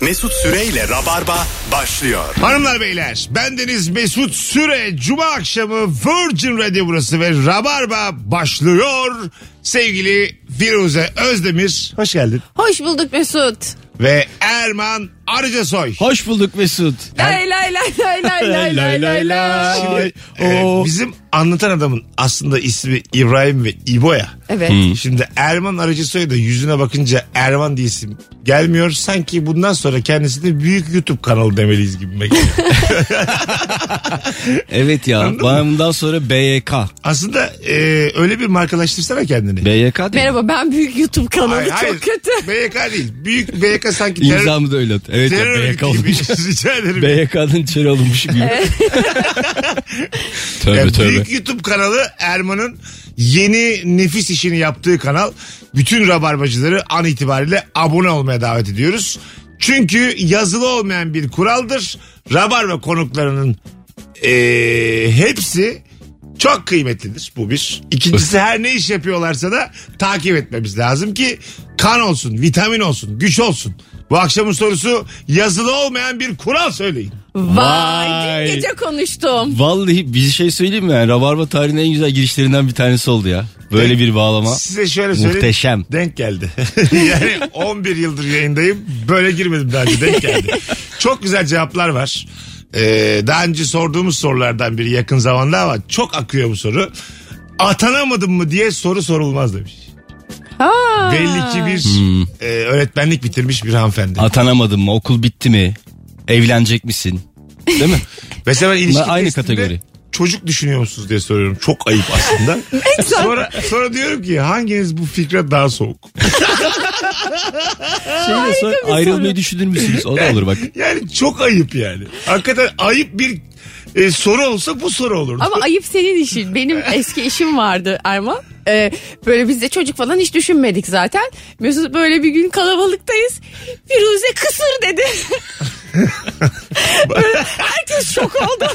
Mesut Süreyle Rabarba başlıyor. Hanımlar beyler bendeniz Mesut Süre Cuma akşamı Virgin Radio burası ve Rabarba başlıyor. Sevgili Firuze Özdemir hoş geldin Hoş bulduk Mesut. ve Erman Arıcasoy. Hoş bulduk Mesut. Lay lay lay lay lay lay lay lay lay. Şimdi, e, Oo. bizim anlatan adamın aslında ismi İbrahim ve İbo ya. Evet. Şimdi Erman Arıcısoy'a da yüzüne bakınca Erman diye isim gelmiyor. Sanki bundan sonra kendisine büyük YouTube kanalı demeliyiz gibi. Evet ya. Bana bundan sonra BYK. aslında e, öyle bir markalaştırsana kendini. BYK değil. mi? Merhaba ben büyük YouTube kanalı Hayır, çok hayır. kötü. BYK değil. Büyük BYK sanki terör, İmzamı da öyle at. Evet ya, terör BYK örgütü gibi. şey. olmuş. Rica ederim. BYK'dan içeri alınmış gibi. tövbe Yani tövbe. E, büyük YouTube kanalı Erman'ın yeni nefis işini yaptığı kanal. Bütün rabarbacıları an itibariyle abone olmaya davet ediyoruz. Çünkü yazılı olmayan bir kuraldır. Rabarba konuklarının eee, hepsi çok kıymetlidir bu bir. İkincisi her ne iş yapıyorlarsa da takip etmemiz lazım ki kan olsun, vitamin olsun, güç olsun. Bu akşamın sorusu yazılı olmayan bir kural söyleyin. Vay, Vay. dün gece konuştum. Vallahi bir şey söyleyeyim mi? Yani Rabarba tarihinin en güzel girişlerinden bir tanesi oldu ya. Böyle bir bağlama. Size şöyle söyleyeyim. Muhteşem. Denk geldi. yani 11 yıldır yayındayım. Böyle girmedim daha önce. Denk geldi. çok güzel cevaplar var. Ee, daha önce sorduğumuz sorulardan biri yakın zamanda ama çok akıyor bu soru. Atanamadım mı diye soru sorulmaz demiş. Ha. Belli ki bir Hmm. e, öğretmenlik bitirmiş bir hanımefendi. Atanamadın mı? Okul bitti mi? Evlenecek misin? Değil mi? Mesela ben ilişki Bunlar aynı testinde kategori. Çocuk düşünüyor musunuz diye soruyorum. Çok ayıp aslında. sonra, sonra diyorum ki hanginiz bu fikre daha soğuk? Şey de sor- ayrılmayı düşünür müsünüz? O da olur bak. Yani çok ayıp yani. Hakikaten ayıp bir e, soru olsa bu soru olurdu. Ama ayıp senin işin. Benim eski işim vardı Erman. Ee, böyle biz de çocuk falan hiç düşünmedik zaten. Mesut böyle bir gün kalabalıktayız. Firuze kısır dedi. Böyle herkes şok oldu.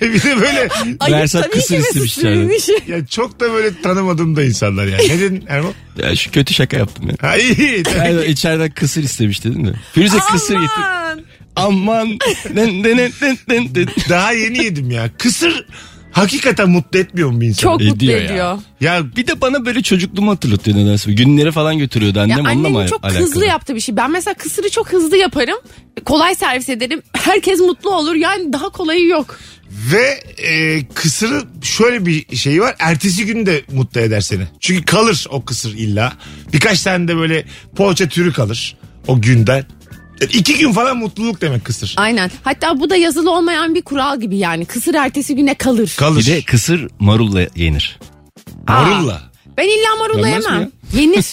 bir de böyle Ayıp Versat tabii kısır ki Mesut istemiş Sürey'in yani. işi. ya çok da böyle tanımadığım da insanlar yani. Ne dedin Erman? Ya şu kötü şaka yaptım ya. Ha iyi. Yani içeriden kısır istemiş dedin mi? Firuze kısır getir. Aman. Aman. Dın dın dın dın dın. Daha yeni yedim ya. Kısır hakikaten mutlu etmiyor mu bir insanı? Çok mutlu Ediyor ya. ediyor. Ya Bir de bana böyle çocukluğumu hatırlatıyor nedense. Günleri falan götürüyordu annem. Ya onunla annem mı çok alakalı? hızlı yaptı bir şey. Ben mesela kısırı çok hızlı yaparım. Kolay servis ederim. Herkes mutlu olur. Yani daha kolayı yok. ve e, kısırın şöyle bir şeyi var. Ertesi gün de mutlu eder seni. Çünkü kalır o kısır illa. Birkaç tane de böyle poğaça türü kalır o günden. Yani iki gün falan mutluluk demek kısır. Aynen. Hatta bu da yazılı olmayan bir kural gibi yani. Kısır ertesi güne kalır. Kalır. Bir de kısır marulla yenir. Aa, Morulla. Ben illa marulla Yenmez mi yemem. Yenir.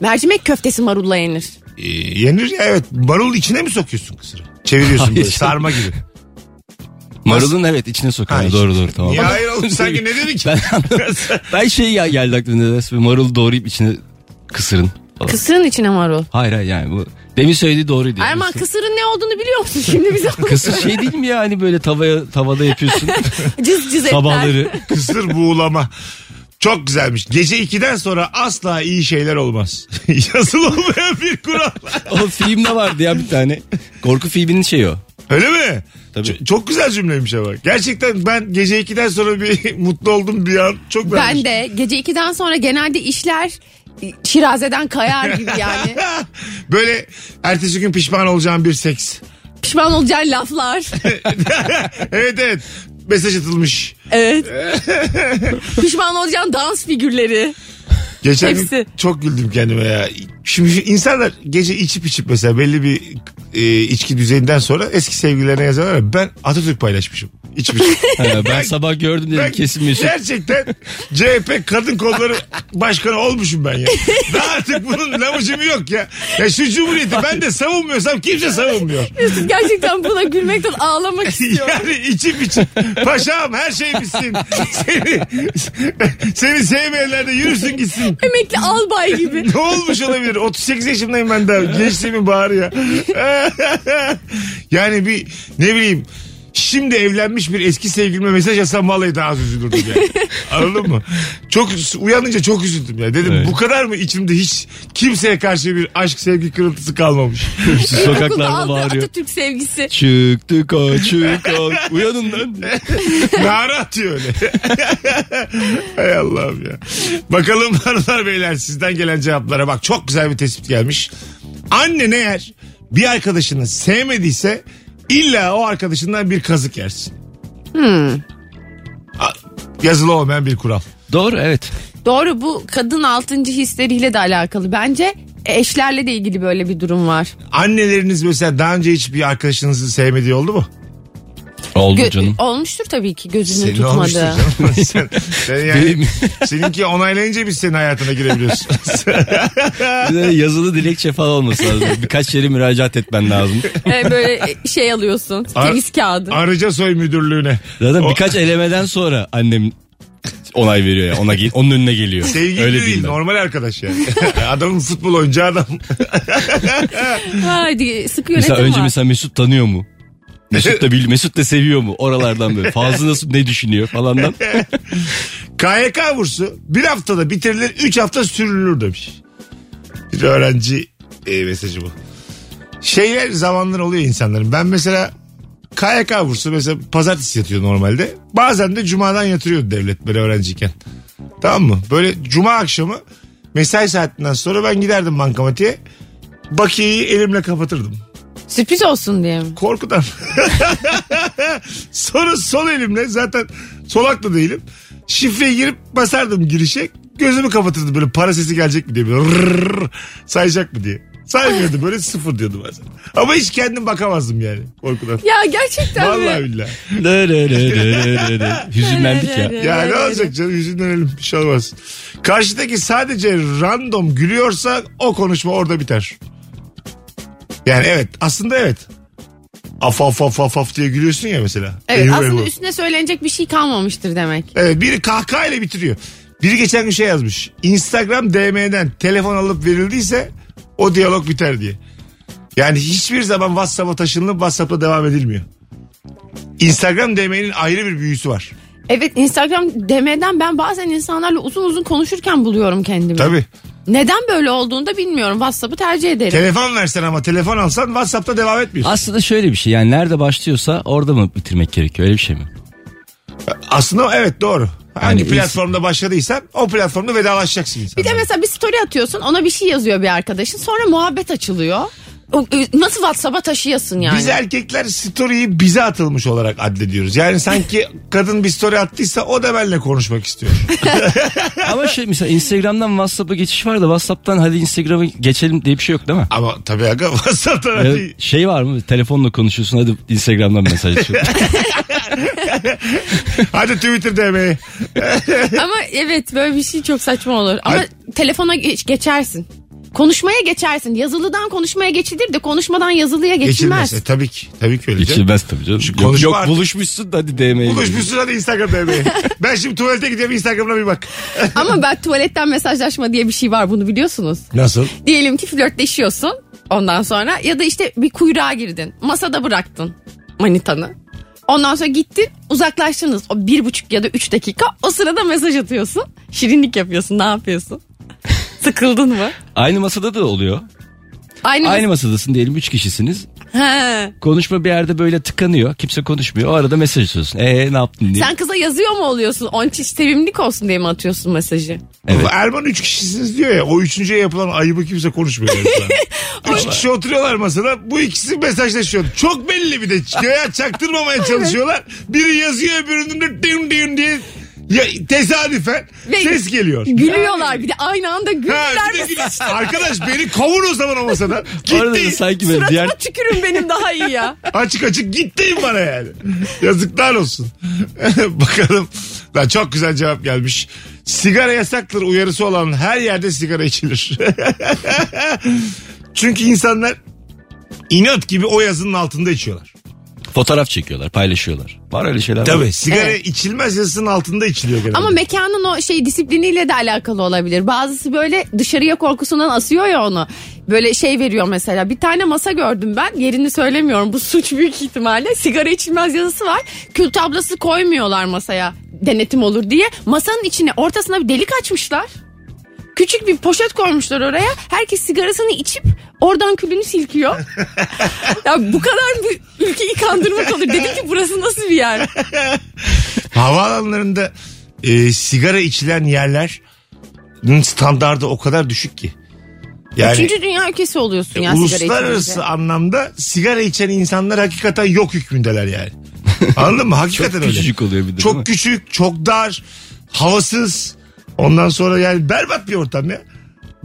Mercimek köftesi marulla yenir. Ee, yenir ya evet. Marul içine mi sokuyorsun kısırı? Çeviriyorsun Hayır böyle canım. sarma gibi. Marulun evet içine sokuyor. Hayır. Doğru doğru tamam. Niye hayır oğlum sanki ne dedik? Ben anlamadım. ben şey ya geldi aklıma nedense. Böyle Marulu doğrayıp içine kısırın. Falan. Kısırın içine marul. Hayır hayır yani bu. Demin söylediği doğruydu. yani. Erman kısırın ne olduğunu biliyor musun şimdi bize? Kısır şey değil mi ya hani böyle tavaya tavada yapıyorsun cız cız etler. sabahları. Kısır buğulama. Çok güzelmiş. Gece 2'den sonra asla iyi şeyler olmaz. Yazılı olmayan bir kural. O filmde vardı ya bir tane. Korku filminin şeyi o. Öyle mi? Tabii. Ç- çok güzel cümleymiş ama. Gerçekten ben gece 2'den sonra bir mutlu oldum bir an. Çok Ben beğenmiştim. de gece 2'den sonra genelde işler e, şirazeden kayar gibi yani. Böyle ertesi gün pişman olacağım bir seks. Pişman olacağın laflar. evet evet. Mesaj atılmış. Evet. Pişman olacağın dans figürleri. Geçen gün Hepsi. çok güldüm kendime ya. Şimdi şu insanlar gece içip içip mesela belli bir e, içki düzeyinden sonra eski sevgililerine yazarlar. ya, Ben Atatürk paylaşmışım. İçip içip. Ha, Ee, ben sabah gördüm dedim Ben kesin Mesut. Gerçekten CHP kadın kolları başkanı olmuşum ben ya. Daha artık bunun lavucumu yok ya. Ya şu cumhuriyeti ben de savunmuyorsam kimse savunmuyor. Mesut gerçekten buna gülmekten ağlamak istiyorum. Yani içip içip paşam her şeymişsin. Seni, seni sevmeyenler de yürüsün gitsin. Emekli albay gibi. Ne olmuş olabilir? 38 yaşındayım ben daha. Gençliğimin baharı ya. yani bir ne bileyim Şimdi evlenmiş bir eski sevgilime mesaj atsam vallahi daha az üzülürdüm yani. Anladın mı? Çok uyanınca çok üzüldüm ya. Dedim Evet. bu kadar mı içimde hiç kimseye karşı bir aşk sevgi kırıntısı kalmamış. Şu Okulda sokaklarda aldı bağırıyor. Atatürk sevgisi. Çıktı kaç çık Uyanın lan. diye. Nara atıyor öyle. Hay Allah'ım ya. Bakalım hanımlar beyler sizden gelen cevaplara bak. Çok güzel bir tespit gelmiş. Annen eğer bir arkadaşını sevmediyse illa o arkadaşından bir kazık yersin. A- Yazılı olmayan bir kural. Doğru evet. Doğru bu kadın altıncı hisleriyle de alakalı. Bence E, eşlerle de ilgili böyle bir durum var. Anneleriniz mesela daha önce hiç bir arkadaşınızı sevmediği oldu mu? Oldu Gö- canım. Olmuştur tabii ki gözünü Senin tutmadı. olmuştur canım. sen, sen yani, Benim- seninki onaylayınca biz senin hayatına girebiliyorsun. Bir de yazılı dilekçe falan olması lazım. Birkaç yere müracaat etmen lazım. Ee, böyle şey alıyorsun. Ar- Temiz kağıdı. Arıca soy müdürlüğüne. Zaten O- birkaç elemeden sonra annem onay veriyor ya. Ona ge- onun önüne geliyor. Sevgili Öyle değil diyeyim ben. normal arkadaş yani. Adamın futbol oyuncu adam. Hadi sıkı yönetim Mesela önce var. mesela Mesut tanıyor mu? Mesut da bil, Mesut da seviyor mu? Oralardan böyle. Fazla nasıl ne düşünüyor falandan. KYK bursu bir haftada bitirilir 3 hafta sürülür demiş. Bir öğrenci e, mesajı bu. Şeyler zamanlar oluyor insanların. Ben mesela KYK bursu mesela pazartesi yatıyor normalde. Bazen de cumadan yatırıyordu devlet böyle öğrenciyken. Tamam mı? Böyle cuma akşamı mesai saatinden sonra ben giderdim bankamatiğe. Bakiyeyi elimle kapatırdım. Sürpriz olsun diye mi? Korkudan. Sonra sol elimle zaten solak da değilim. Şifreye girip basardım girişe. Gözümü kapatırdım böyle para sesi gelecek mi diye. Böyle rrrr, sayacak mı diye. Saymıyordu böyle sıfır diyordu bazen. Ama hiç kendim bakamazdım yani korkudan. Ya gerçekten Vallahi mi? billahi. Dö, dö, dö, dö, dö, dö. Hüzünlendik ya. Ya ne olacak canım yüzünden ölüm bir şey olmaz. Karşıdaki sadece random gülüyorsa o konuşma orada biter. Yani evet aslında evet. Af af af af af diye gülüyorsun ya mesela. Evet Eyvah aslında eyvah. üstüne söylenecek bir şey kalmamıştır demek. Evet, biri kahkahayla bitiriyor. Biri geçen gün şey yazmış. Instagram DM'den telefon alıp verildiyse o diyalog biter diye. Yani hiçbir zaman WhatsApp'a taşınılıp WhatsApp'la devam edilmiyor. Instagram DM'nin ayrı bir büyüsü var. Evet Instagram demeden ben bazen insanlarla uzun uzun konuşurken buluyorum kendimi. Tabii. Neden böyle olduğunu da bilmiyorum. WhatsApp'ı tercih ederim. Telefon versen ama telefon alsan WhatsApp'ta devam etmiyorsun. Aslında şöyle bir şey yani nerede başlıyorsa orada mı bitirmek gerekiyor öyle bir şey mi? Aslında evet doğru. Hangi Yani platformda başladıysan o platformda vedalaşacaksın bir de insanlarla. mesela bir story atıyorsun ona bir şey yazıyor bir arkadaşın sonra muhabbet açılıyor. O- e, Nasıl WhatsApp'a taşıyasın yani? Biz erkekler story'yi bize atılmış olarak addediyoruz. Yani sanki kadın bir story attıysa o da benimle konuşmak istiyor. Ama şey mesela Instagram'dan WhatsApp'a geçiş var da WhatsApp'tan hadi Instagram'a geçelim diye bir şey yok değil mi? Ama tabii aga WhatsApp'tan Ya hadi şey var mı telefonla konuşuyorsun hadi Instagram'dan mesaj atıyor. Hadi Twitter DM'ye. Ama evet böyle bir şey çok saçma olur. Ama Hayır. telefona geç, geçersin. Konuşmaya geçersin. Yazılıdan konuşmaya geçilir de konuşmadan yazılıya geçilmez. Geçilmez. E, tabii ki. Tabii ki öyle. canım. Geçilmez tabii canım. Şu Yok, konuşma yok, artık. buluşmuşsun da hadi DM'ye. Buluşmuşsun hadi Instagram DM'ye. ben şimdi tuvalete gidiyorum Instagram'a bir bak. Ama ben tuvaletten mesajlaşma diye bir şey var bunu biliyorsunuz. Nasıl? Diyelim ki flörtleşiyorsun ondan sonra ya da işte bir kuyruğa girdin. Masada bıraktın manitanı. Ondan sonra gittin uzaklaştınız. O bir buçuk ya da üç dakika o sırada mesaj atıyorsun. Şirinlik yapıyorsun ne yapıyorsun? Sıkıldın mı? Aynı masada da oluyor. Aynı, Aynı masadasın diyelim 3 kişisiniz. He. Konuşma bir yerde böyle tıkanıyor. Kimse konuşmuyor. O arada mesaj atıyorsun. Eee ne yaptın diye. Sen kıza yazıyor mu oluyorsun? Onun için sevimlik olsun diye mi atıyorsun mesajı? Evet. Erman üç kişisiniz diyor ya. O üçüncüye yapılan ayıbı kimse konuşmuyor. yani şu an. üç kişi oturuyorlar masada. Bu ikisi mesajlaşıyor. Çok belli bir de. Göğe çaktırmamaya çalışıyorlar. Biri yazıyor öbürünün de dim dim diye. Ya, tesadüfen Ve ses geliyor. Gülüyorlar bir de aynı anda Ha, gülürler. bir de gülüyor. Arkadaş beni kovun o zaman o masadan. Bu arada da Gitti. sanki böyle Suratıma diğer tükürün benim daha iyi ya. Açık açık gittin bana yani. Yazıklar olsun. Bakalım. Lan çok güzel cevap gelmiş. Sigara yasaktır uyarısı olan her yerde sigara içilir. Çünkü insanlar inat gibi o yazının altında içiyorlar. Fotoğraf çekiyorlar, paylaşıyorlar. Var öyle şeyler. Tabii var. sigara Evet. içilmez yazısının altında içiliyor genelde. Ama mekanın o şey disipliniyle de alakalı olabilir. Bazısı böyle dışarıya korkusundan asıyor ya onu. Böyle şey veriyor mesela. Bir tane masa gördüm ben. Yerini söylemiyorum. Bu suç büyük ihtimalle. Sigara içilmez yazısı var. Kül tablası koymuyorlar masaya. Denetim olur diye. Masanın içine ortasına bir delik açmışlar. Küçük bir poşet koymuşlar oraya. Herkes sigarasını içip oradan külünü silkiyor. ya bu kadar bu ülkeyi kandırmak olur. Dedim ki burası nasıl bir yer? Havaalanlarında e, sigara içilen yerler standardı o kadar düşük ki. Üçüncü dünya ülkesi oluyorsun ya sigara içince. e, uluslararası anlamda sigara içen insanlar hakikaten yok hükmündeler yani. Anladın mı? Hakikaten öyle. küçücük oluyor bir de, değil mi? Çok küçük, çok dar, havasız. Ondan sonra yani berbat bir ortam ya.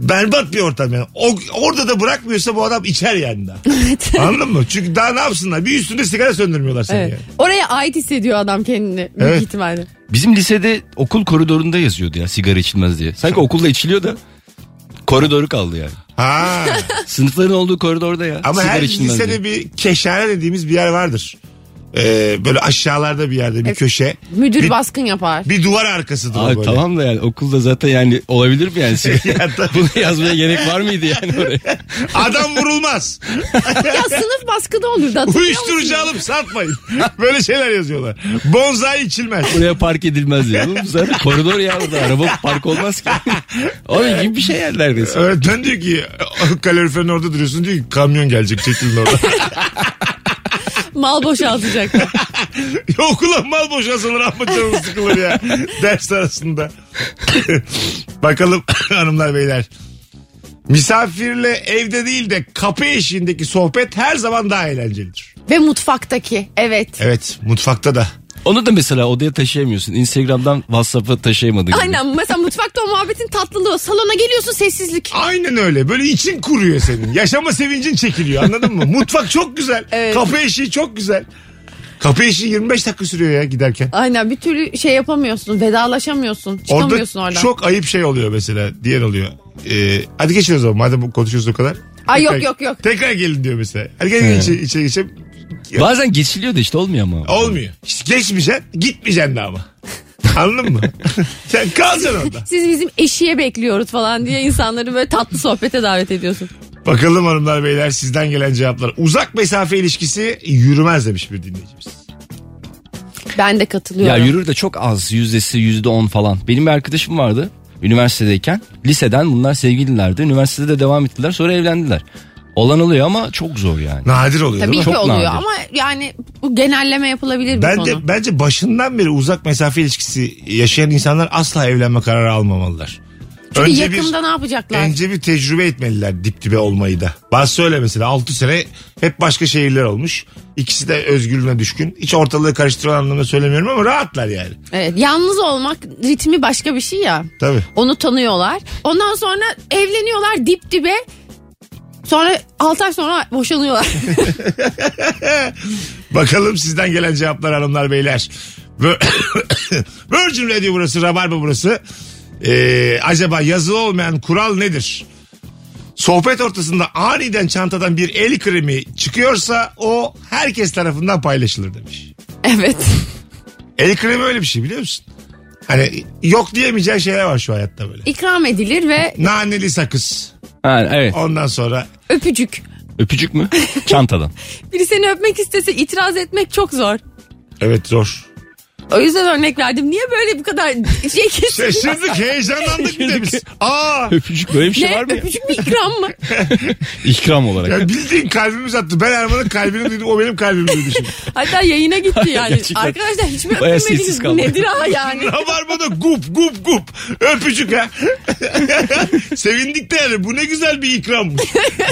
Berbat bir ortam yani. O, orada da bırakmıyorsa bu adam içer yani daha. Anladın mı? Çünkü daha ne yapsınlar? Bir üstünde sigara söndürmüyorlar seni Evet. Hani yani. Oraya ait hissediyor adam kendini büyük Evet. ihtimalle. Bizim lisede okul koridorunda yazıyordu ya sigara içilmez diye. Sanki okulda içiliyor da koridoru kaldı yani. Ha. Sınıfların olduğu koridorda ya. Ama sigara her içilmez diye. lisede bir keşhane dediğimiz bir yer vardır. Ee, böyle aşağılarda bir yerde bir köşe. Müdür bir, baskın yapar. bir duvar arkasıdır o Abi böyle. tamam da yani okulda zaten yani olabilir mi yani? Ya tabii. Bunu yazmaya gerek var mıydı yani oraya? Adam vurulmaz. ya sınıf baskını olurdu hatırlıyor musun? Uyuşturucu alıp satmayın. Böyle şeyler yazıyorlar. Bonzai içilmez. Buraya park edilmez ya. Oğlum zaten koridor ya burada. Araba park olmaz ki. Onun gibi bir şey yani neredeyse. Öğretmen diyor ki kaloriferin orada duruyorsun diyor ki kamyon gelecek çekilin orada. Mal boşaltacak. Okula mal boşalsalar ama canım sıkılır ya. Ders arasında. Bakalım hanımlar beyler. Misafirle evde değil de kapı eşiğindeki sohbet her zaman daha eğlencelidir. Ve mutfaktaki evet. Evet mutfakta da. Onu da mesela odaya taşıyamıyorsun. Instagram'dan WhatsApp'a taşıyamadın. gibi. Aynen mesela mutfakta o muhabbetin tatlılığı. Salona geliyorsun sessizlik. Aynen öyle. Böyle için kuruyor senin. Yaşama sevincin çekiliyor anladın mı? Mutfak çok güzel. Evet. Kapı eşiği çok güzel. Kapı eşiği 25 dakika sürüyor ya giderken. Aynen bir türlü şey yapamıyorsun. Vedalaşamıyorsun. Orada Çıkamıyorsun oradan. çok ayıp şey oluyor mesela. Diğer oluyor. Ee, hadi geçin o zaman madem bu konuşuyoruz o kadar. Ay yok, Tekrar- yok, yok. Tekrar gelin diyor mesela. Hadi gelin içe, içe geçelim. Bazen geçiliyor da işte olmuyor ama. Olmuyor. Hiç geçmeyeceksin. Gitmeyeceksin de ama. Anladın mı? Sen kalacaksın orada. Siz bizim eşiğe bekliyoruz falan diye insanları böyle tatlı sohbete davet ediyorsun. Bakalım hanımlar beyler sizden gelen cevaplar. Uzak mesafe ilişkisi yürümez demiş bir dinleyicimiz. Ben de Ya katılıyorum. yürür de çok az yüzdesi yüzde on falan. Benim bir arkadaşım vardı üniversitedeyken. Liseden bunlar sevgililerdi. Üniversitede de devam ettiler sonra evlendiler. Olan oluyor ama çok zor yani. Nadir oluyor değil Tabii mi? ki Çok oluyor nadir. ama yani bu genelleme yapılabilir bir Ben konu. de, bence başından beri uzak mesafe ilişkisi yaşayan insanlar asla evlenme kararı almamalılar. Çünkü yakında ne yapacaklar? Önce bir tecrübe etmeliler dip dibe olmayı da. Bazı öyle mesela 6 sene hep başka şehirler olmuş. İkisi de özgürlüğüne düşkün. Hiç ortalığı karıştıran anlamda söylemiyorum ama rahatlar yani. Evet, yalnız olmak ritmi başka bir şey ya. Tabii. Onu tanıyorlar. Ondan sonra evleniyorlar dip dibe. Sonra 6 ay sonra boşanıyorlar. Bakalım sizden gelen cevaplar hanımlar beyler. Vir- Virgin Radio burası, Rabarba burası. Ee, acaba yazılı olmayan kural nedir? Sohbet ortasında aniden çantadan bir el kremi çıkıyorsa o herkes tarafından paylaşılır demiş. evet. El kremi öyle bir şey biliyor musun? Hani yok diyemeyeceğin şeyler var şu hayatta böyle. İkram edilir ve Naneli sakız. Ha, evet Ondan sonra öpücük. öpücük mü? Çantadan. Biri seni öpmek istese itiraz etmek çok zor. evet zor. O yüzden örnek verdim. Niye böyle bu kadar şey kesin? Şaşırdık heyecanlandık bir de biz. Aa öpücük böyle bir şey Ne? var mı? ya? Öpücük mü ikram mı? İkram olarak. ya bildiğin kalbimiz attı. Ben Erman'ın kalbini duydum o benim kalbimi duydu şimdi. Hatta yayına gitti yani. Gerçekten. Arkadaşlar hiç mi Bayağı sessiz öpülmediniz? Bu kaldı. Nedir ha yani? Rabarba'da gup gup gup öpücük ha. Sevindik de yani bu ne güzel bir ikrammış.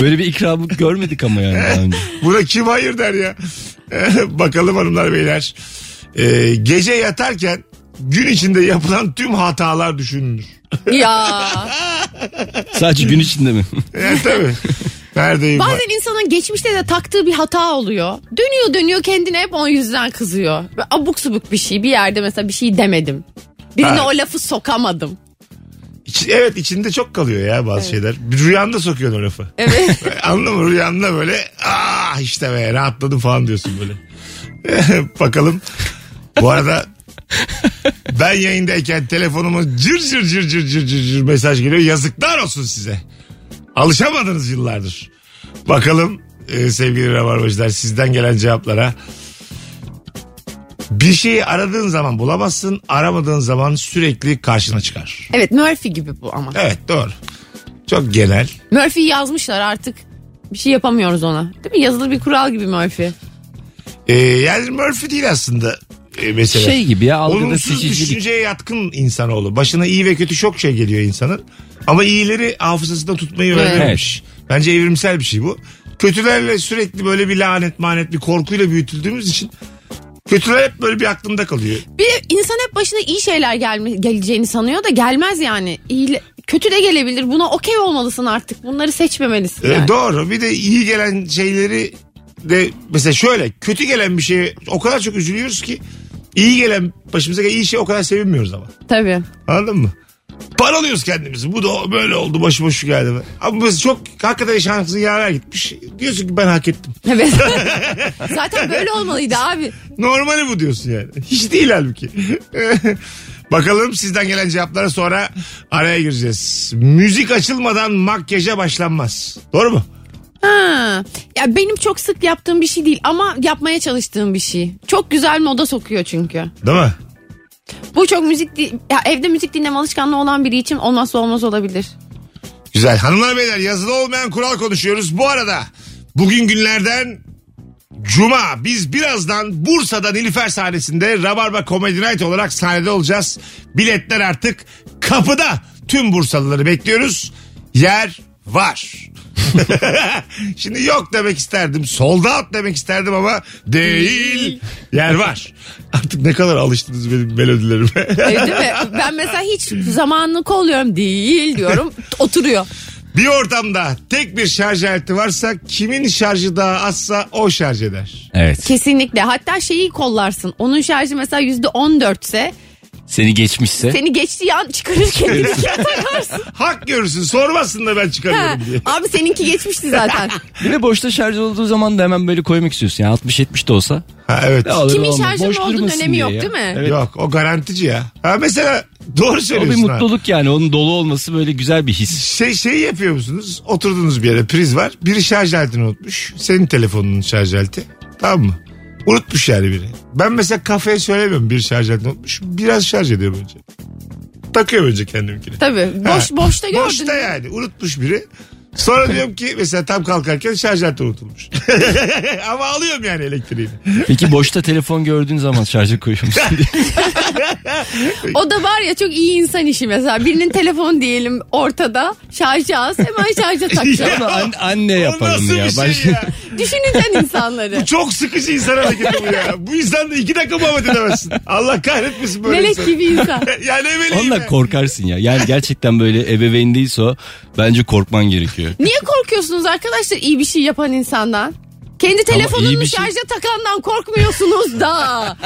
Böyle bir ikramı görmedik ama yani daha önce. Buna kim hayır der ya. Bakalım hanımlar beyler. Ee, gece yatarken gün içinde yapılan tüm hatalar düşünülür. ya. Sadece gün içinde mi? Yani E, tabii. Neredeyim? Bazen insanın geçmişte de taktığı bir hata oluyor. Dönüyor dönüyor kendine hep onun yüzünden kızıyor. Ve abuk subuk bir şey bir yerde mesela bir şey demedim. Birine Ha. o lafı sokamadım. İç- evet içinde çok kalıyor ya bazı şeyler. Bir Rüyanda sokuyorsun o lafı. Evet. Anladın mı? Rüyanda böyle ah işte be rahatladım falan diyorsun böyle. Bakalım. Bu arada ben yayındayken telefonuma cır cır cır cır cır cır cır mesaj geliyor. Yazıklar olsun size. Alışamadınız yıllardır. Bakalım e, sevgili rabarbacılar sizden gelen cevaplara. Bir şeyi aradığın zaman bulamazsın, aramadığın zaman sürekli karşına çıkar. Evet Murphy gibi bu ama. Evet doğru. Çok genel. Murphy'yi yazmışlar artık. Bir şey yapamıyoruz ona. Değil mi? Yazılı bir kural gibi Murphy. Ee, yani Murphy değil aslında e, mesele. Şey gibi ya algıda Olumsuz seçicilik. düşünceye yatkın insanoğlu. Başına iyi ve kötü çok şey geliyor insanın. Ama iyileri hafızasında tutmayı Evet. öğrenmemiş. Bence evrimsel bir şey bu. Kötülerle sürekli böyle bir lanet manet bir korkuyla büyütüldüğümüz için kötüler hep böyle bir aklımda kalıyor. Bir de insan hep başına iyi şeyler gelme, geleceğini sanıyor da gelmez yani. İyi, kötü de gelebilir. Buna okey olmalısın artık. Bunları seçmemelisin. Ee, yani. doğru bir de iyi gelen şeyleri de mesela şöyle kötü gelen bir şeye o kadar çok üzülüyoruz ki iyi gelen başımıza gelen iyi şey o kadar sevinmiyoruz ama. Tabii. Anladın mı? Paralıyoruz kendimizi. Bu da böyle oldu. Başı boş geldi. Ama biz çok hakikaten şansın yaver gitmiş. Diyorsun ki ben hak ettim. Evet. Zaten böyle olmalıydı abi. Normali bu diyorsun yani. Hiç değil halbuki. Bakalım sizden gelen cevaplara sonra araya gireceğiz. Müzik açılmadan makyaja başlanmaz. Doğru mu? Ha. Ya benim çok sık yaptığım bir şey değil ama yapmaya çalıştığım bir şey. Çok güzel moda sokuyor çünkü. Değil mi? Bu çok müzik di- ya evde müzik dinleme alışkanlığı olan biri için olmazsa olmaz olabilir. Güzel. Hanımlar beyler yazılı olmayan kural konuşuyoruz. Bu arada bugün günlerden Cuma biz birazdan Bursa'da Nilüfer sahnesinde Rabarba Comedy Night olarak sahnede olacağız. Biletler artık kapıda. Tüm Bursalıları bekliyoruz. Yer var. Şimdi yok demek isterdim. Sold out demek isterdim ama değil. Yer var. Artık ne kadar alıştınız benim melodilerime. E, Değil mi? Ben mesela hiç zamanını kolluyorum değil diyorum. Oturuyor. Bir ortamda tek bir şarj aleti varsa kimin şarjı daha azsa o şarj eder. Evet. Kesinlikle. Hatta şeyi kollarsın. Onun şarjı mesela yüzde on dörtse Seni geçmişse. seni geçtiği an çıkarır kendini. Hak görürsün sormasın da ben çıkarıyorum diye. Abi seninki geçmişti zaten. Bir de boşta şarj olduğu zaman da hemen böyle koymak istiyorsun. Yani 60-70 de olsa. Ha, evet. Ne olur Kimin olmaz. şarjının Boş olduğunun durmasın önemi diye yok, ya. değil mi? Evet. Yok o garantici ya. Ha mesela doğru O bir söylüyorsun. ha. mutluluk yani. Onun dolu olması böyle güzel bir his. Şey, şey yapıyor musunuz? Oturduğunuz bir yere priz var. Biri şarj aletini unutmuş. Senin telefonunun şarj aleti. Tamam mı? Unutmuş yani biri. Ben mesela kafeye söylemiyorum bir şarj aletini unutmuş. Biraz şarj ediyorum önce. Takıyorum önce kendimkini. Tabii. Boş Ha. boşta gördün. Boşta yani unutmuş biri. Sonra diyorum ki mesela tam kalkarken şarj aleti unutulmuş. Ama alıyorum yani elektriğini. Peki boşta telefon gördüğün zaman şarja koyuyor musun diye. O da var ya çok iyi insan işi mesela. Birinin telefonu diyelim ortada. Şarjı az hemen şarja takacağım. Ama an- anne O yaparım nasıl ya. bir şey Başka- ya? Düşüneceksin insanları. Çok sıkıcı insan hareketi bu ya. Bu insan da iki dakika muhabbet edemezsin. Allah kahretmesin böyle Melek insanı. gibi insan. yani ne bileyim Onunla ya. korkarsın ya. Yani gerçekten böyle ebeveyn değilse o bence korkman gerekiyor. Niye korkuyorsunuz arkadaşlar iyi bir şey yapan insandan? Kendi iyi telefonunu bir şey- şarja takandan korkmuyorsunuz da.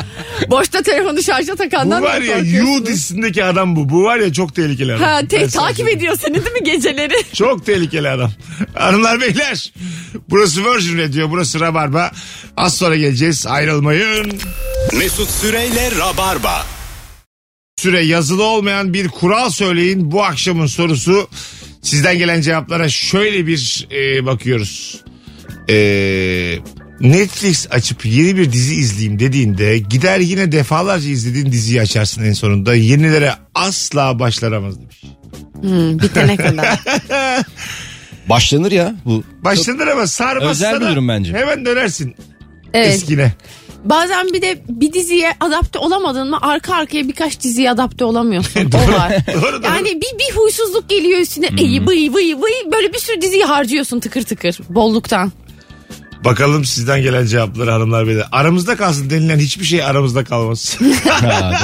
Boşta telefonu şarja Bu takandan var ya korkuyorsunuz? You dizisindeki adam bu. Bu var ya çok tehlikeli adam. Ha, te- Ben sana takip söyleyeyim. ediyor seni değil mi geceleri? Çok tehlikeli adam. Hanımlar beyler. Burası Virgin Radio. Burası Rabarba. Az sonra geleceğiz. Ayrılmayın. Mesut Süreyle Rabarba. süre yazılı olmayan bir kural söyleyin. Bu akşamın sorusu sizden gelen cevaplara şöyle bir e, bakıyoruz. E, Netflix açıp yeni bir dizi izleyeyim dediğinde gider yine defalarca izlediğin diziyi açarsın en sonunda. Yenilere asla başlanamaz demiş. Bitene kadar. Başlanır ya bu. Başlanır ama sarmazsa Özel bir da durum bence. hemen dönersin Evet. eskine. Bazen bir de bir diziye adapte olamadın mı arka arkaya birkaç diziye adapte olamıyorsun. O var. Doğru doğru. Yani bir, bir huysuzluk geliyor üstüne. İyi bıy bıy bıy. Böyle bir sürü diziyi harcıyorsun tıkır tıkır. Bolluktan. Bakalım sizden gelen cevapları hanımlar beyler. Aramızda kalsın denilen hiçbir şey aramızda kalmaz. Ha,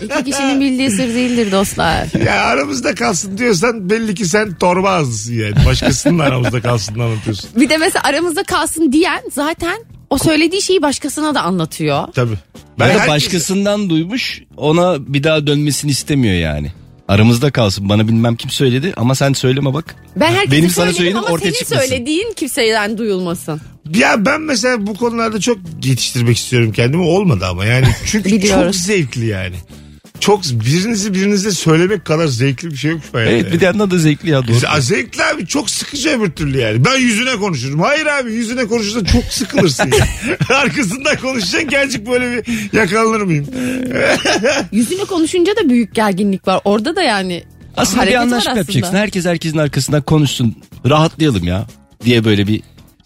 değil mi? İki kişinin bildiği sır değildir dostlar. Ya aramızda kalsın diyorsan belli ki sen torba ağzısın yani. Başkasının aramızda kalsın anlatıyorsun. Bir de mesela aramızda kalsın diyen zaten o söylediği şeyi başkasına da anlatıyor. Tabii. Ya da herkese- başkasından duymuş ona bir daha dönmesini istemiyor yani. Aramızda kalsın. Bana bilmem kim söyledi ama sen söyleme bak. Ben herkese Benim Benim sana söyledim, ama ortaya senin çıkmasın. söylediğin kimseyden duyulmasın. Ya ben mesela bu konularda çok yetiştirmek istiyorum kendimi. Olmadı ama yani. Çünkü çok Biliyoruz. zevkli yani. Çok birinizi birinize söylemek kadar zevkli bir şey yok. Evet bir de yandan da zevkli ya. Doğru. Ya Zevkli abi çok sıkıcı öbür türlü yani. Ben yüzüne konuşurum. Hayır abi yüzüne konuşursan çok sıkılırsın. ya. Arkasından konuşacaksın gerçek böyle bir yakalanır mıyım? Yüzüne konuşunca da büyük gerginlik var. Orada da yani Aslında bir hareket var anlaşma aslında. yapacaksın. Herkes herkesin arkasından konuşsun. Rahatlayalım ya diye böyle bir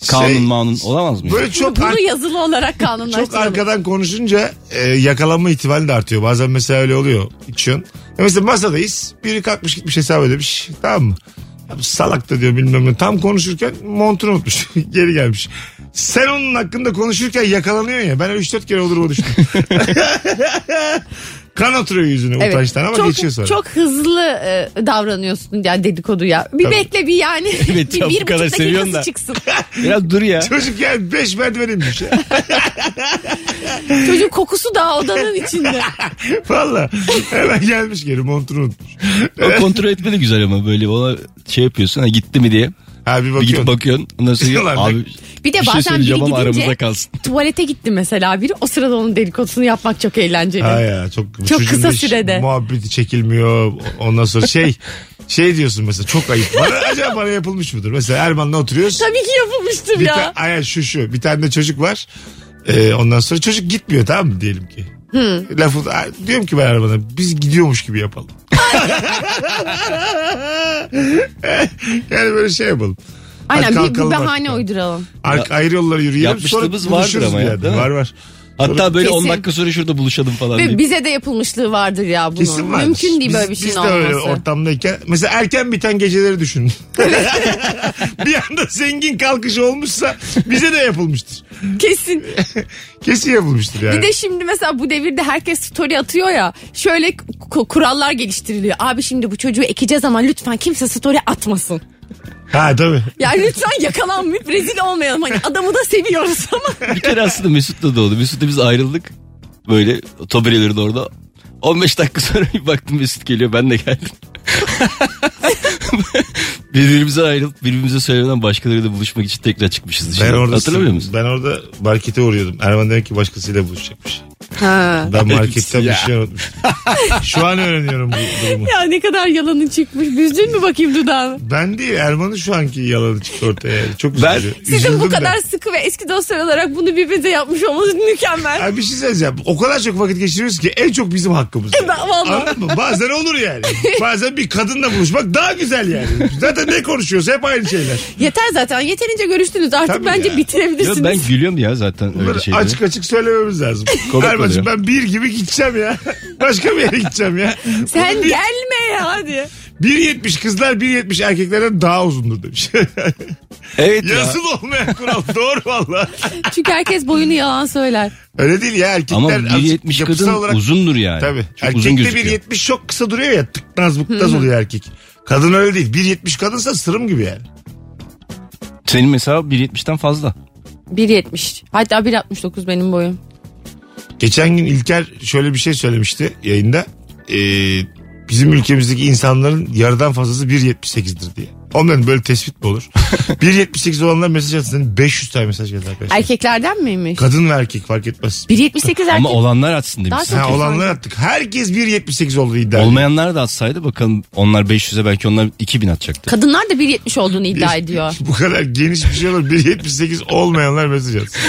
kanun Şey- manun olamaz mı? ya? Böyle çok ar- Bunu yazılı olarak kanunlaştıralım. çok arkadan konuşunca e, yakalanma ihtimali de artıyor. Bazen mesela öyle oluyor. İçiyorsun. Ya mesela masadayız. Biri kalkmış gitmiş hesap ödemiş. Tamam mı? Ya bu Salak da diyor bilmem ne. Tam konuşurken montunu unutmuş. Geri gelmiş. Sen onun hakkında konuşurken yakalanıyorsun ya. Ben öyle 3-4 kere olur o düştüm. kan oturuyor yüzüne Evet. utançtan ama çok, geçiyor sonra. Çok hızlı e, davranıyorsun yani dedikoduya. Bir Tabii. bekle bir yani. Evet bir, ya, bu bir kadar buçuk seviyorsun dakikası da. çıksın. Biraz dur ya. Çocuk yani 5 merdiven inmiş. Çocuğun kokusu daha odanın içinde. Valla. Hemen gelmiş geri montunu unutmuş. O kontrol etme de güzel ama böyle ona şey yapıyorsun ha gitti mi diye. Ha bir Bir gidip bakıyorsun. bakıyorsun. Ondan sonra Ulan abi Bir de bir şey bazen biri söyleyeceğim ama aramızda gidince kalsın. tuvalete gitti mesela biri. O sırada onun dedikodusunu yapmak çok eğlenceli. Ha ya çok, Ee, Çok çocuğun kısa da hiç sürede. Muhabbeti çekilmiyor. Ondan sonra şey şey diyorsun mesela çok ayıp. Bana, acaba bana yapılmış mıdır? Mesela Erman'la oturuyoruz. Tabii ki yapılmıştım bir ya. ta- Ay, şu şu bir tane de çocuk var. Ee, ondan sonra çocuk gitmiyor tamam mı diyelim ki. Lafı a- diyorum ki ben Erman'a biz gidiyormuş gibi yapalım. yani böyle şey yapalım. Hadi Aynen bir, bir kalkalım bahane artık. uyturalım. Ar- ayrı yollara yürüyelim. Yapmışlığımız sonra buluşuruz vardır ama bir ya, yerde. değil mi? Var var. Hatta böyle 10 Kesin. dakika sonra şurada buluşalım falan Ve diye. bize de yapılmışlığı vardır ya bunun. Kesin vardır. Mümkün değil Biz- böyle bir şeyin Biz de öyle olması. ortamdayken. Mesela erken biten geceleri düşün. bir anda zengin kalkışı olmuşsa bize de yapılmıştır. Kesin. Kesin yapılmıştır yani. Bir de şimdi mesela bu devirde herkes story atıyor ya. Şöyle ku- kurallar geliştiriliyor. Abi şimdi bu çocuğu ekeceğiz ama lütfen kimse story atmasın. Ha tabii. Yani lütfen yakalanmayıp rezil olmayalım. Hani adamı da seviyoruz ama. Bir kere aslında Mesut'la da oldu. Mesut'la biz ayrıldık. Böyle taburelerin orada. 15 dakika sonra bir baktım Mesut geliyor ben de geldim. Birbirimize ayrılıp birbirimize söylemeden başkalarıyla buluşmak için tekrar çıkmışız. Ben Şimdi orada, Hatırlamıyor musun? Ben orada markete uğruyordum. Erman demek ki başkasıyla buluşacakmış. Ha. Ben marketten bir Ya. şey unutmuştum. Şu an öğreniyorum bu durumu. Ya ne kadar yalanın çıkmış. Büzdün mü bakayım dudağını? Ben değil Erman'ın şu anki yalanı çıktı ortaya. yani. Çok Ben- üzücü. Sizin bu Üzüldüm kadar ben. sıkı ve eski dostlar olarak bunu birbirinize yapmış olmanız mükemmel. Abi bir şey söyleyeceğim. O kadar çok vakit geçiriyoruz ki en çok bizim hakkımız. yani. E, ben- vallahi. Anladın mı? Bazen olur yani. Bazen bir kadınla buluşmak daha güzel yani. Zaten ne konuşuyoruz hep aynı şeyler. Yeter zaten. Yeterince görüştünüz. Artık Tabii bence ya. bitirebilirsiniz. Ya ben gülüyorum ya zaten öyle Bunları şeyleri. açık açık söylememiz lazım. Komik Erman'cığım oluyor. ben bir gibi gideceğim ya. Başka bir yere gideceğim ya. Sen Bir- gelme ya hadi. 1.70 kızlar 1.70 erkeklerden daha uzundur demiş. Evet ya. Yazılı olmayan kural doğru valla. Çünkü herkes boyunu yalan söyler. Öyle değil ya erkekler. Ama azıcık 1.70 yapısal kadın olarak- uzundur yani. Tabii. Çok uzun Erkekte gözüküyor. 1.70 çok kısa duruyor ya tıknaz bıknaz oluyor erkek. Kadın öyle değil. 1.70 kadınsa sırım gibi yani. Senin mesela 1.70'ten fazla. 1.70. Hatta 1.69 benim boyum. Geçen gün İlker şöyle bir şey söylemişti yayında. Ee, bizim ülkemizdeki insanların yarıdan fazlası 1.78'dir diye. Onların böyle tespit mi olur? 1.78 olanlar mesaj atsın. 500 tane mesaj geldi arkadaşlar. Erkeklerden miymiş? Kadın ve erkek fark etmez. 1.78 erkek. Ama olanlar atsın demiş. Daha çok- Ha, olanlar attık. Herkes 1.78 olduğu iddia ediyor. Olmayanlar da atsaydı bakalım onlar 500'e belki onlar 2000 atacaktı. Kadınlar da 1.70 olduğunu iddia ediyor. Bu kadar geniş bir şey olur. 1.78 olmayanlar mesaj atsın.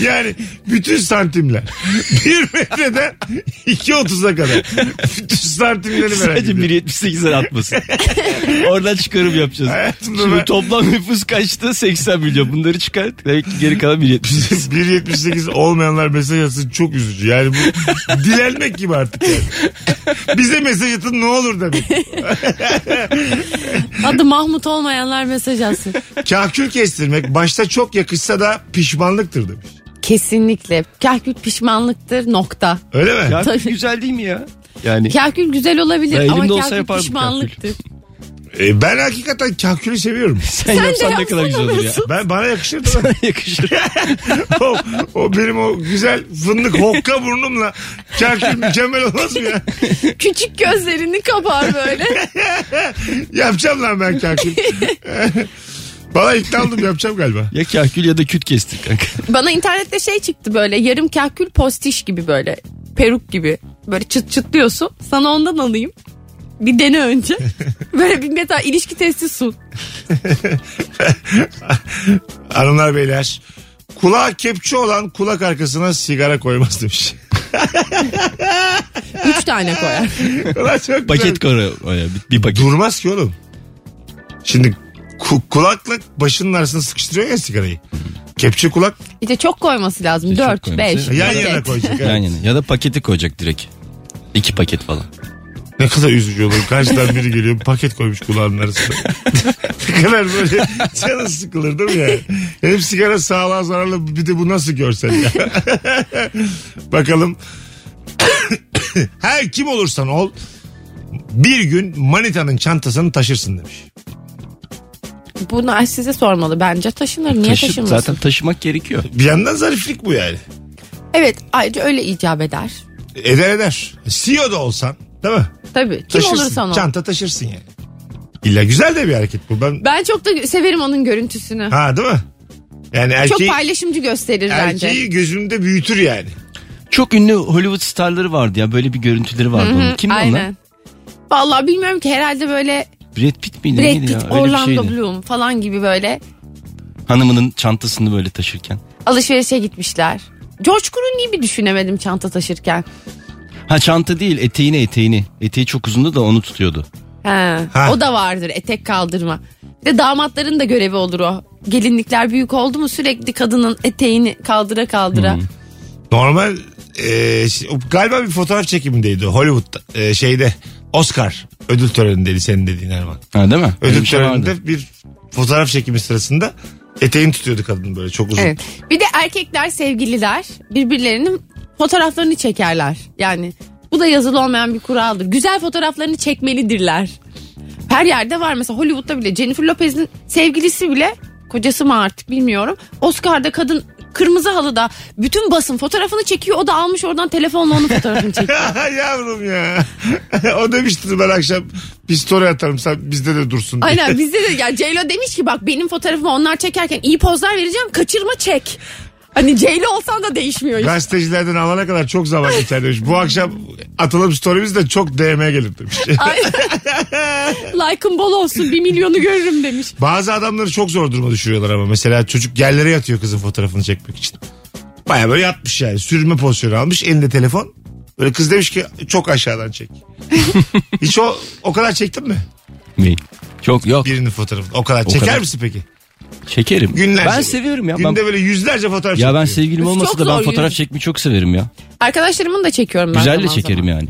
yani bütün santimler. 1 metreden 2.30'a kadar. Bütün santimleri merak Sadece ediyorum. 1.78'den atmasın. Oradan çıkarım yapacağız. Hayatımda Şimdi ben- toplam nüfus kaçtı? 80 milyon. Bunları çıkart. Demek ki geri kalan 1.78. 1.78 olmayanlar mesaj atsın çok üzücü. Yani bu dilenmek gibi artık yani. Bize mesaj atın ne olur demek. Adı Mahmut olmayanlar mesaj atsın. Kahkül kestirmek başta çok yakışsa da pişmanlıktır demiş. Kesinlikle. Kahkül pişmanlıktır nokta. Öyle mi? Ya Tabii. güzel değil mi ya? Yani Kahkül güzel olabilir Ya elimde ama olsa kahkül yapardım pişmanlıktır. E, ben hakikaten kahkülü seviyorum. Sen, de yapsan ne kadar güzel olur ya. yapsana Ben bana yakışırdı. lan. Yakışır. o, o benim o güzel fındık hokka burnumla kahkül mükemmel olmaz mı ya? Küçük gözlerini kapar böyle. Yapacağım lan ben kahkül. Valla ikna oldum yapacağım galiba. Ya kahkül ya da küt kestik kanka. Bana internette şey çıktı böyle yarım kahkül postiş gibi böyle peruk gibi böyle çıt çıtlıyorsun. Sana ondan alayım. Bir dene önce. Böyle bir meta ilişki testi sun. Hanımlar beyler kulağa kepçe olan kulak arkasına sigara koymaz demiş. Üç tane koyar. Ulan çok güzel. Paket koru. Öyle bir, bir paket. Durmaz ki oğlum. Şimdi ku- kulakla başının arasına sıkıştırıyor ya sigarayı. Kepçe kulak Bir de çok koyması lazım. çok Dört, koyması. beş. yan Evet. yana koyacak. evet. Yan yana. Ya da paketi koyacak direkt. İki paket falan. Ne kadar üzücü olur. Karşıdan biri geliyor paket koymuş kulağının arasına. ne kadar böyle canı sıkılır değil mi yani? Hem sigara sağlığa zararlı bir de bu nasıl görsel ya. Bakalım. Her kim olursan ol bir gün manitanın çantasını taşırsın demiş. Bunu size sormalı. Bence taşınır. Niye Taşı- taşınmasın? zaten taşımak gerekiyor. Bir yandan zariflik bu yani. Evet ayrıca öyle icap eder. Eder eder. CEO da olsan değil mi? Tabii. Kim Taşırsın. olursan ol. Çanta taşırsın yani. İlla güzel de bir hareket bu. Ben... Ben çok da severim onun görüntüsünü. Ha değil mi? Yani çok erkeği, paylaşımcı gösterir bence. erkeği gözümde büyütür yani. Çok ünlü Hollywood starları vardı ya. Böyle bir görüntüleri vardı onun. Kimdi onlar? Aynen. Vallahi bilmiyorum ki herhalde böyle Brad Pitt miydi? Brad neydi Pitt, ya? Öyle bir Orlando şeydi. Bloom falan gibi böyle Hanımının çantasını böyle taşırken. alışverişe gitmişler. George Clooney'i bir düşünemedim çanta taşırken. Ha çanta değil eteğini eteğini. Eteği çok uzundu da onu tutuyordu. He, Ha. O da vardır etek kaldırma. Bir de damatların da görevi olur o. Gelinlikler büyük oldu mu sürekli kadının eteğini kaldıra kaldıra. Normal e, ş- galiba bir fotoğraf çekimindeydi Hollywood'da e, şeyde Oscar ödül törenindeydi senin dediğin Erman. Ha değil mi? Öyle Ödül bir şey vardı. töreninde bir fotoğraf çekimi sırasında eteğini tutuyordu kadın böyle çok uzun. Evet. Bir de erkekler sevgililer birbirlerinin fotoğraflarını çekerler. Yani bu da yazılı olmayan bir kuraldır. Güzel fotoğraflarını çekmelidirler. Her yerde var mesela Hollywood'da bile Jennifer Lopez'in sevgilisi bile kocası mı artık bilmiyorum. Oscar'da kadın kırmızı halıda bütün basın fotoğrafını çekiyor. O da almış oradan telefonla onun fotoğrafını çekiyor. Yavrum ya. o demişti ben akşam bir story atarım sen bizde de dursun diye. Aynen bizde de ya Ceylo demiş ki bak benim fotoğrafımı onlar çekerken iyi pozlar vereceğim kaçırma çek. Hani Ceylo olsan da değişmiyor işte. Gazetecilerden alana kadar çok zaman geçer demiş. Bu akşam atalım story'miz de çok DM'ye gelir demiş. Aynen. Like'ın bol olsun bir milyonu görürüm demiş. Bazı adamları çok zor duruma düşürüyorlar ama. Mesela çocuk yerlere yatıyor kızın fotoğrafını çekmek için. Baya böyle yatmış yani. Sürme pozisyonu almış. Elinde telefon. Böyle kız demiş ki çok aşağıdan çek. Hiç o o kadar çektin mi? Neyi? Çok yok. Birinin fotoğrafını. O kadar. Çeker kadar. misin peki? Şekerim. Günlerce. Ben seviyorum ya. Ben, Günde böyle yüzlerce fotoğraf ya ben çekiyor. sevgilim Çok olmasa da zor ben yürü. fotoğraf çekmeyi çok severim ya. Arkadaşlarımın da çekiyorum ben Güzel de zaman çekerim zaman. yani.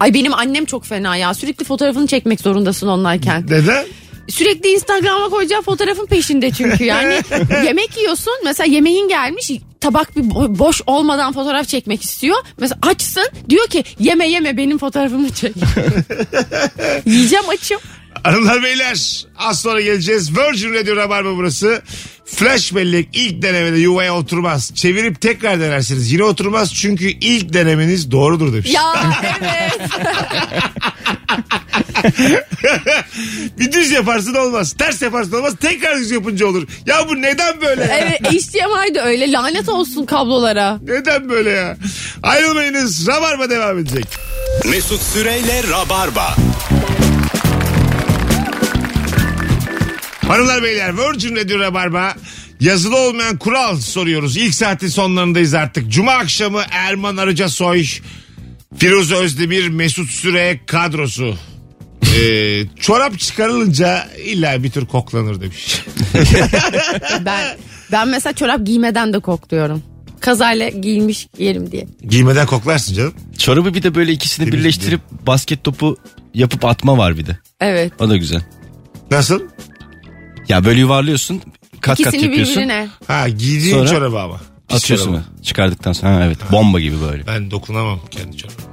Ay benim annem çok fena ya. Sürekli fotoğrafını çekmek zorundasın onlarken. Neden? Sürekli Instagram'a koyacağı fotoğrafın peşinde çünkü. Yani yemek yiyorsun. Mesela yemeğin gelmiş. Tabak bir bo- boş olmadan fotoğraf çekmek istiyor. Mesela açsın. Diyor ki yeme yeme benim fotoğrafımı çek. Yiyeceğim açım. Hanımlar beyler az sonra geleceğiz. Virgin Radio Rabarba burası. Flash bellek ilk denemede yuvaya oturmaz. Çevirip tekrar denersiniz. Yine oturmaz çünkü ilk denemeniz doğrudur demiş. Ya evet. Bir düz yaparsın olmaz. Ters yaparsın olmaz. Tekrar düz yapınca olur. Ya bu neden böyle? ya? evet HDMI de öyle. Lanet olsun kablolara. Neden böyle ya? Ayrılmayınız. Rabarba devam edecek. Mesut Süreyle Rabarba. Hanımlar beyler Virgin Radio Rabarba yazılı olmayan kural soruyoruz. İlk saatin sonlarındayız artık. Cuma akşamı Erman Arıca Soy, Firuze Özdemir, Mesut Süre kadrosu. Ee, çorap çıkarılınca illa bir tür koklanır demiş. Ben ben mesela çorap giymeden de kokluyorum. Kazayla giymiş yerim diye. Giymeden koklarsın canım. Çorabı bir de böyle ikisini Temiz birleştirip basket topu yapıp atma var bir de. Evet. O da güzel. Nasıl? Ya böyle yuvarlıyorsun. Kat kat İkisini yapıyorsun. birbirine. Ha giydiğin Sonra? çorabı ama. Pis Atıyorsun çorabı. mu? Çıkardıktan sonra. Ha, evet. Bomba gibi böyle. Ben dokunamam kendi çorabıma.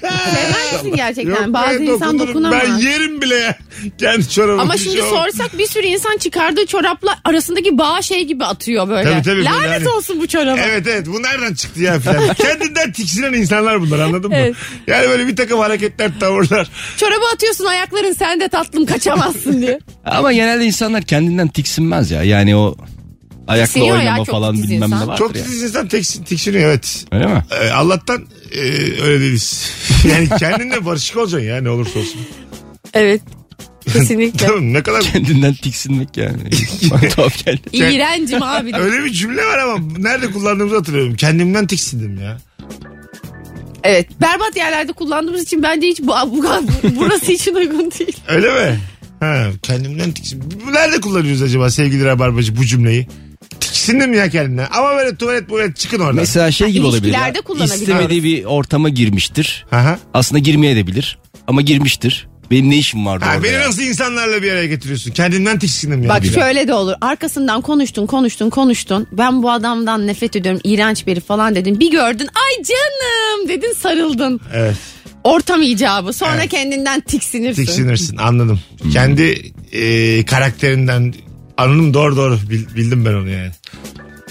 Sever misin gerçekten? Bazı ben insan dokunurum. dokunamaz. Ben yerim bile ya. Kendi çorabımı. Ama şimdi sorsak bir sürü insan çıkardığı çorapla arasındaki bağ şey gibi atıyor böyle. Tabii, tabii, böyle Lanet hani- olsun bu çoraba. Evet evet bu nereden çıktı ya filan. Kendinden tiksinen insanlar bunlar anladın mı? Evet. Yani böyle bir takım hareketler tavırlar. Çorabı atıyorsun ayakların sen de tatlım kaçamazsın diye. Ama genelde insanlar kendinden tiksinmez ya. Yani o ayakla Tiksiniyor ya, oynama çok falan titiz bilmem ne insan. var. Çok titiz insan tiksin, tiksiniyor evet. Öyle mi? Ee, Allah'tan e, öyle değiliz. Yani kendinle barışık olacaksın ya ne olursa olsun. Evet. Kesinlikle. Tamam ne kadar Kendinden tiksinmek yani. Bana tuhaf geldi. İğrencim abi. de. öyle bir cümle var ama nerede kullandığımızı hatırlıyorum. Kendimden tiksindim ya. Evet. Berbat yerlerde kullandığımız için bence hiç bu, bu, bu- burası için uygun değil. Öyle mi? Ha, kendimden tiksin. Bu Nerede kullanıyoruz acaba sevgili Rabarbacı bu cümleyi? Tiksindim ya kendimden. Ama böyle tuvalet tuvalet çıkın oradan. Mesela şey Ha, gibi olabilir. ya. ilişkilerde kullanabiliyoruz. İstemediği bir ortama girmiştir. Aha. Aslında girmeye de bilir. Ama girmiştir. Benim ne işim vardı Ha, orada beni ya? nasıl insanlarla bir araya getiriyorsun? Kendimden tiksindim ya. Bak Bir şöyle de olur. Arkasından konuştun konuştun konuştun. Ben bu adamdan nefret ediyorum. iğrenç biri falan dedin. Bir gördün. Ay canım dedin sarıldın. Evet. Ortam icabı. Sonra Evet. kendinden tiksinirsin. Tiksinirsin anladım. Kendi e, karakterinden anladım doğru doğru Bil- bildim ben onu yani.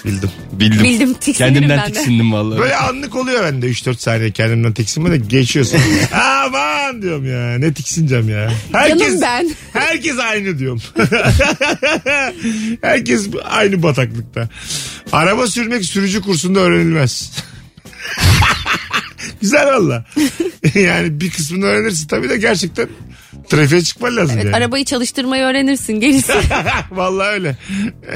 Bildim. Bildim. Bildim, tiksinirim Kendimden ben de. tiksindim vallahi. Böyle anlık oluyor bende 3-4 saniye kendimden tiksinme de geçiyorsun. Aman diyorum ya ne tiksineceğim ya. Canım ben. Herkes aynı diyorum. herkes aynı bataklıkta. Araba sürmek sürücü kursunda öğrenilmez. Güzel valla. yani bir kısmını öğrenirsin tabii de gerçekten trafiğe çıkman lazım Evet, yani. Arabayı çalıştırmayı öğrenirsin gerisi. Vallahi öyle.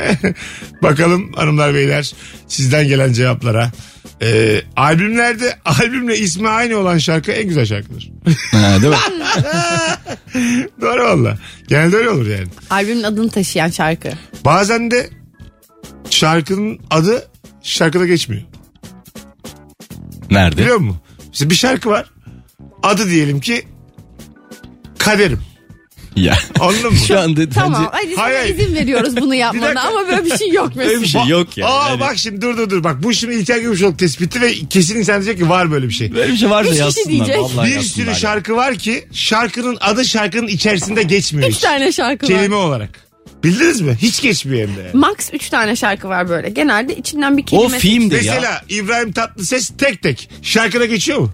Bakalım hanımlar beyler sizden gelen cevaplara. Ee, albümlerde albümle ismi aynı olan şarkı en güzel şarkıdır. Ha, değil mi? Doğru valla. Genelde öyle olur yani. Albümün adını taşıyan şarkı. Bazen de şarkının adı şarkıda geçmiyor. Nerede? Biliyor musun? İşte bir şarkı var. Adı diyelim ki Kaderim. Ya. Anladın mı? Şu anda Tamam. bence Hadi sana Hayır, hayır. izin veriyoruz bunu yapmana dakika. ama böyle bir şey yok mesela. öyle bir şey yok ya. Aa Yani bak şimdi dur dur dur. Bak bu şimdi İlker Gümüşoluk tespiti ve kesin insan diyecek ki var böyle bir şey. Böyle bir şey varsa Üç kişi yazsınlar. diyecek. Vallahi bir yazsınlar sürü ya. şarkı var ki şarkının adı şarkının içerisinde geçmiyor. Üç hiç. tane şarkı var. Kelime olarak. Bildiniz mi? Hiç geçmiyor hem de. yani. Max üç tane şarkı var böyle. Genelde içinden bir kelime. O filmdir ya. Mesela İbrahim Tatlıses tek tek şarkıda geçiyor mu?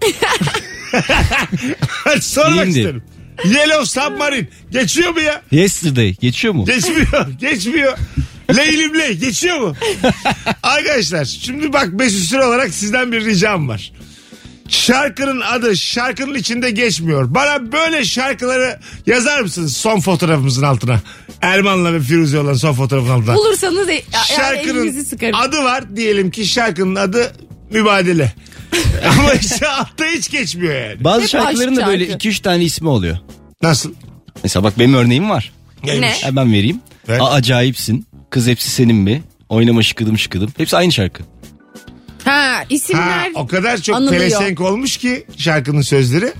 Hadi sormak Değildi. isterim. Yellow Submarine geçiyor mu ya? Yesterday geçiyor mu? Geçmiyor. Geçmiyor. Leylim ley geçiyor mu? Arkadaşlar şimdi bak Mesut Süre olarak sizden bir ricam var. Şarkının adı şarkının içinde geçmiyor. Bana böyle şarkıları yazar mısınız son fotoğrafımızın altına? Erman'la ve Firuze olan son fotoğrafın altına. Bulursanız e- yani elinizi Şarkının sıkarım. adı var diyelim ki şarkının adı Mübadele. Ama işte altta hiç geçmiyor yani. Bazı Hep şarkıların aşk da böyle şarkı. 2-3 tane ismi oluyor. Nasıl? Mesela bak benim örneğim var. Neymiş? Ha, ben vereyim. Ver. A, acayipsin. Kız hepsi senin mi? Oynama şıkıdım şıkıdım. Hepsi aynı şarkı. Ha Ha, isimler. o kadar çok anılıyor. pelesenk olmuş ki şarkının sözleri.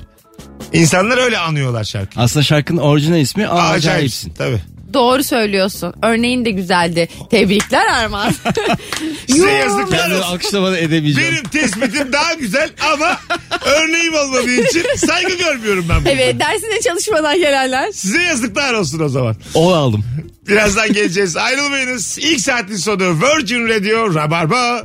İnsanlar öyle anıyorlar şarkıyı. Aslında şarkının orijinal ismi A, Acayipsin. acayipsin. Tabii. Doğru söylüyorsun. Örneğin de güzeldi. Tebrikler Armağan. Size Yuh. yazıklar Kendimi olsun. alkışlamadan edemeyeceğim. Benim tespitim daha güzel ama örneğim olmadığı için saygı görmüyorum ben. buna. Evet dersine çalışmadan gelenler. Size yazıklar olsun o zaman. O aldım. Birazdan geleceğiz. Ayrılmayınız. İlk saatin sonu Virgin Radio Rabarba.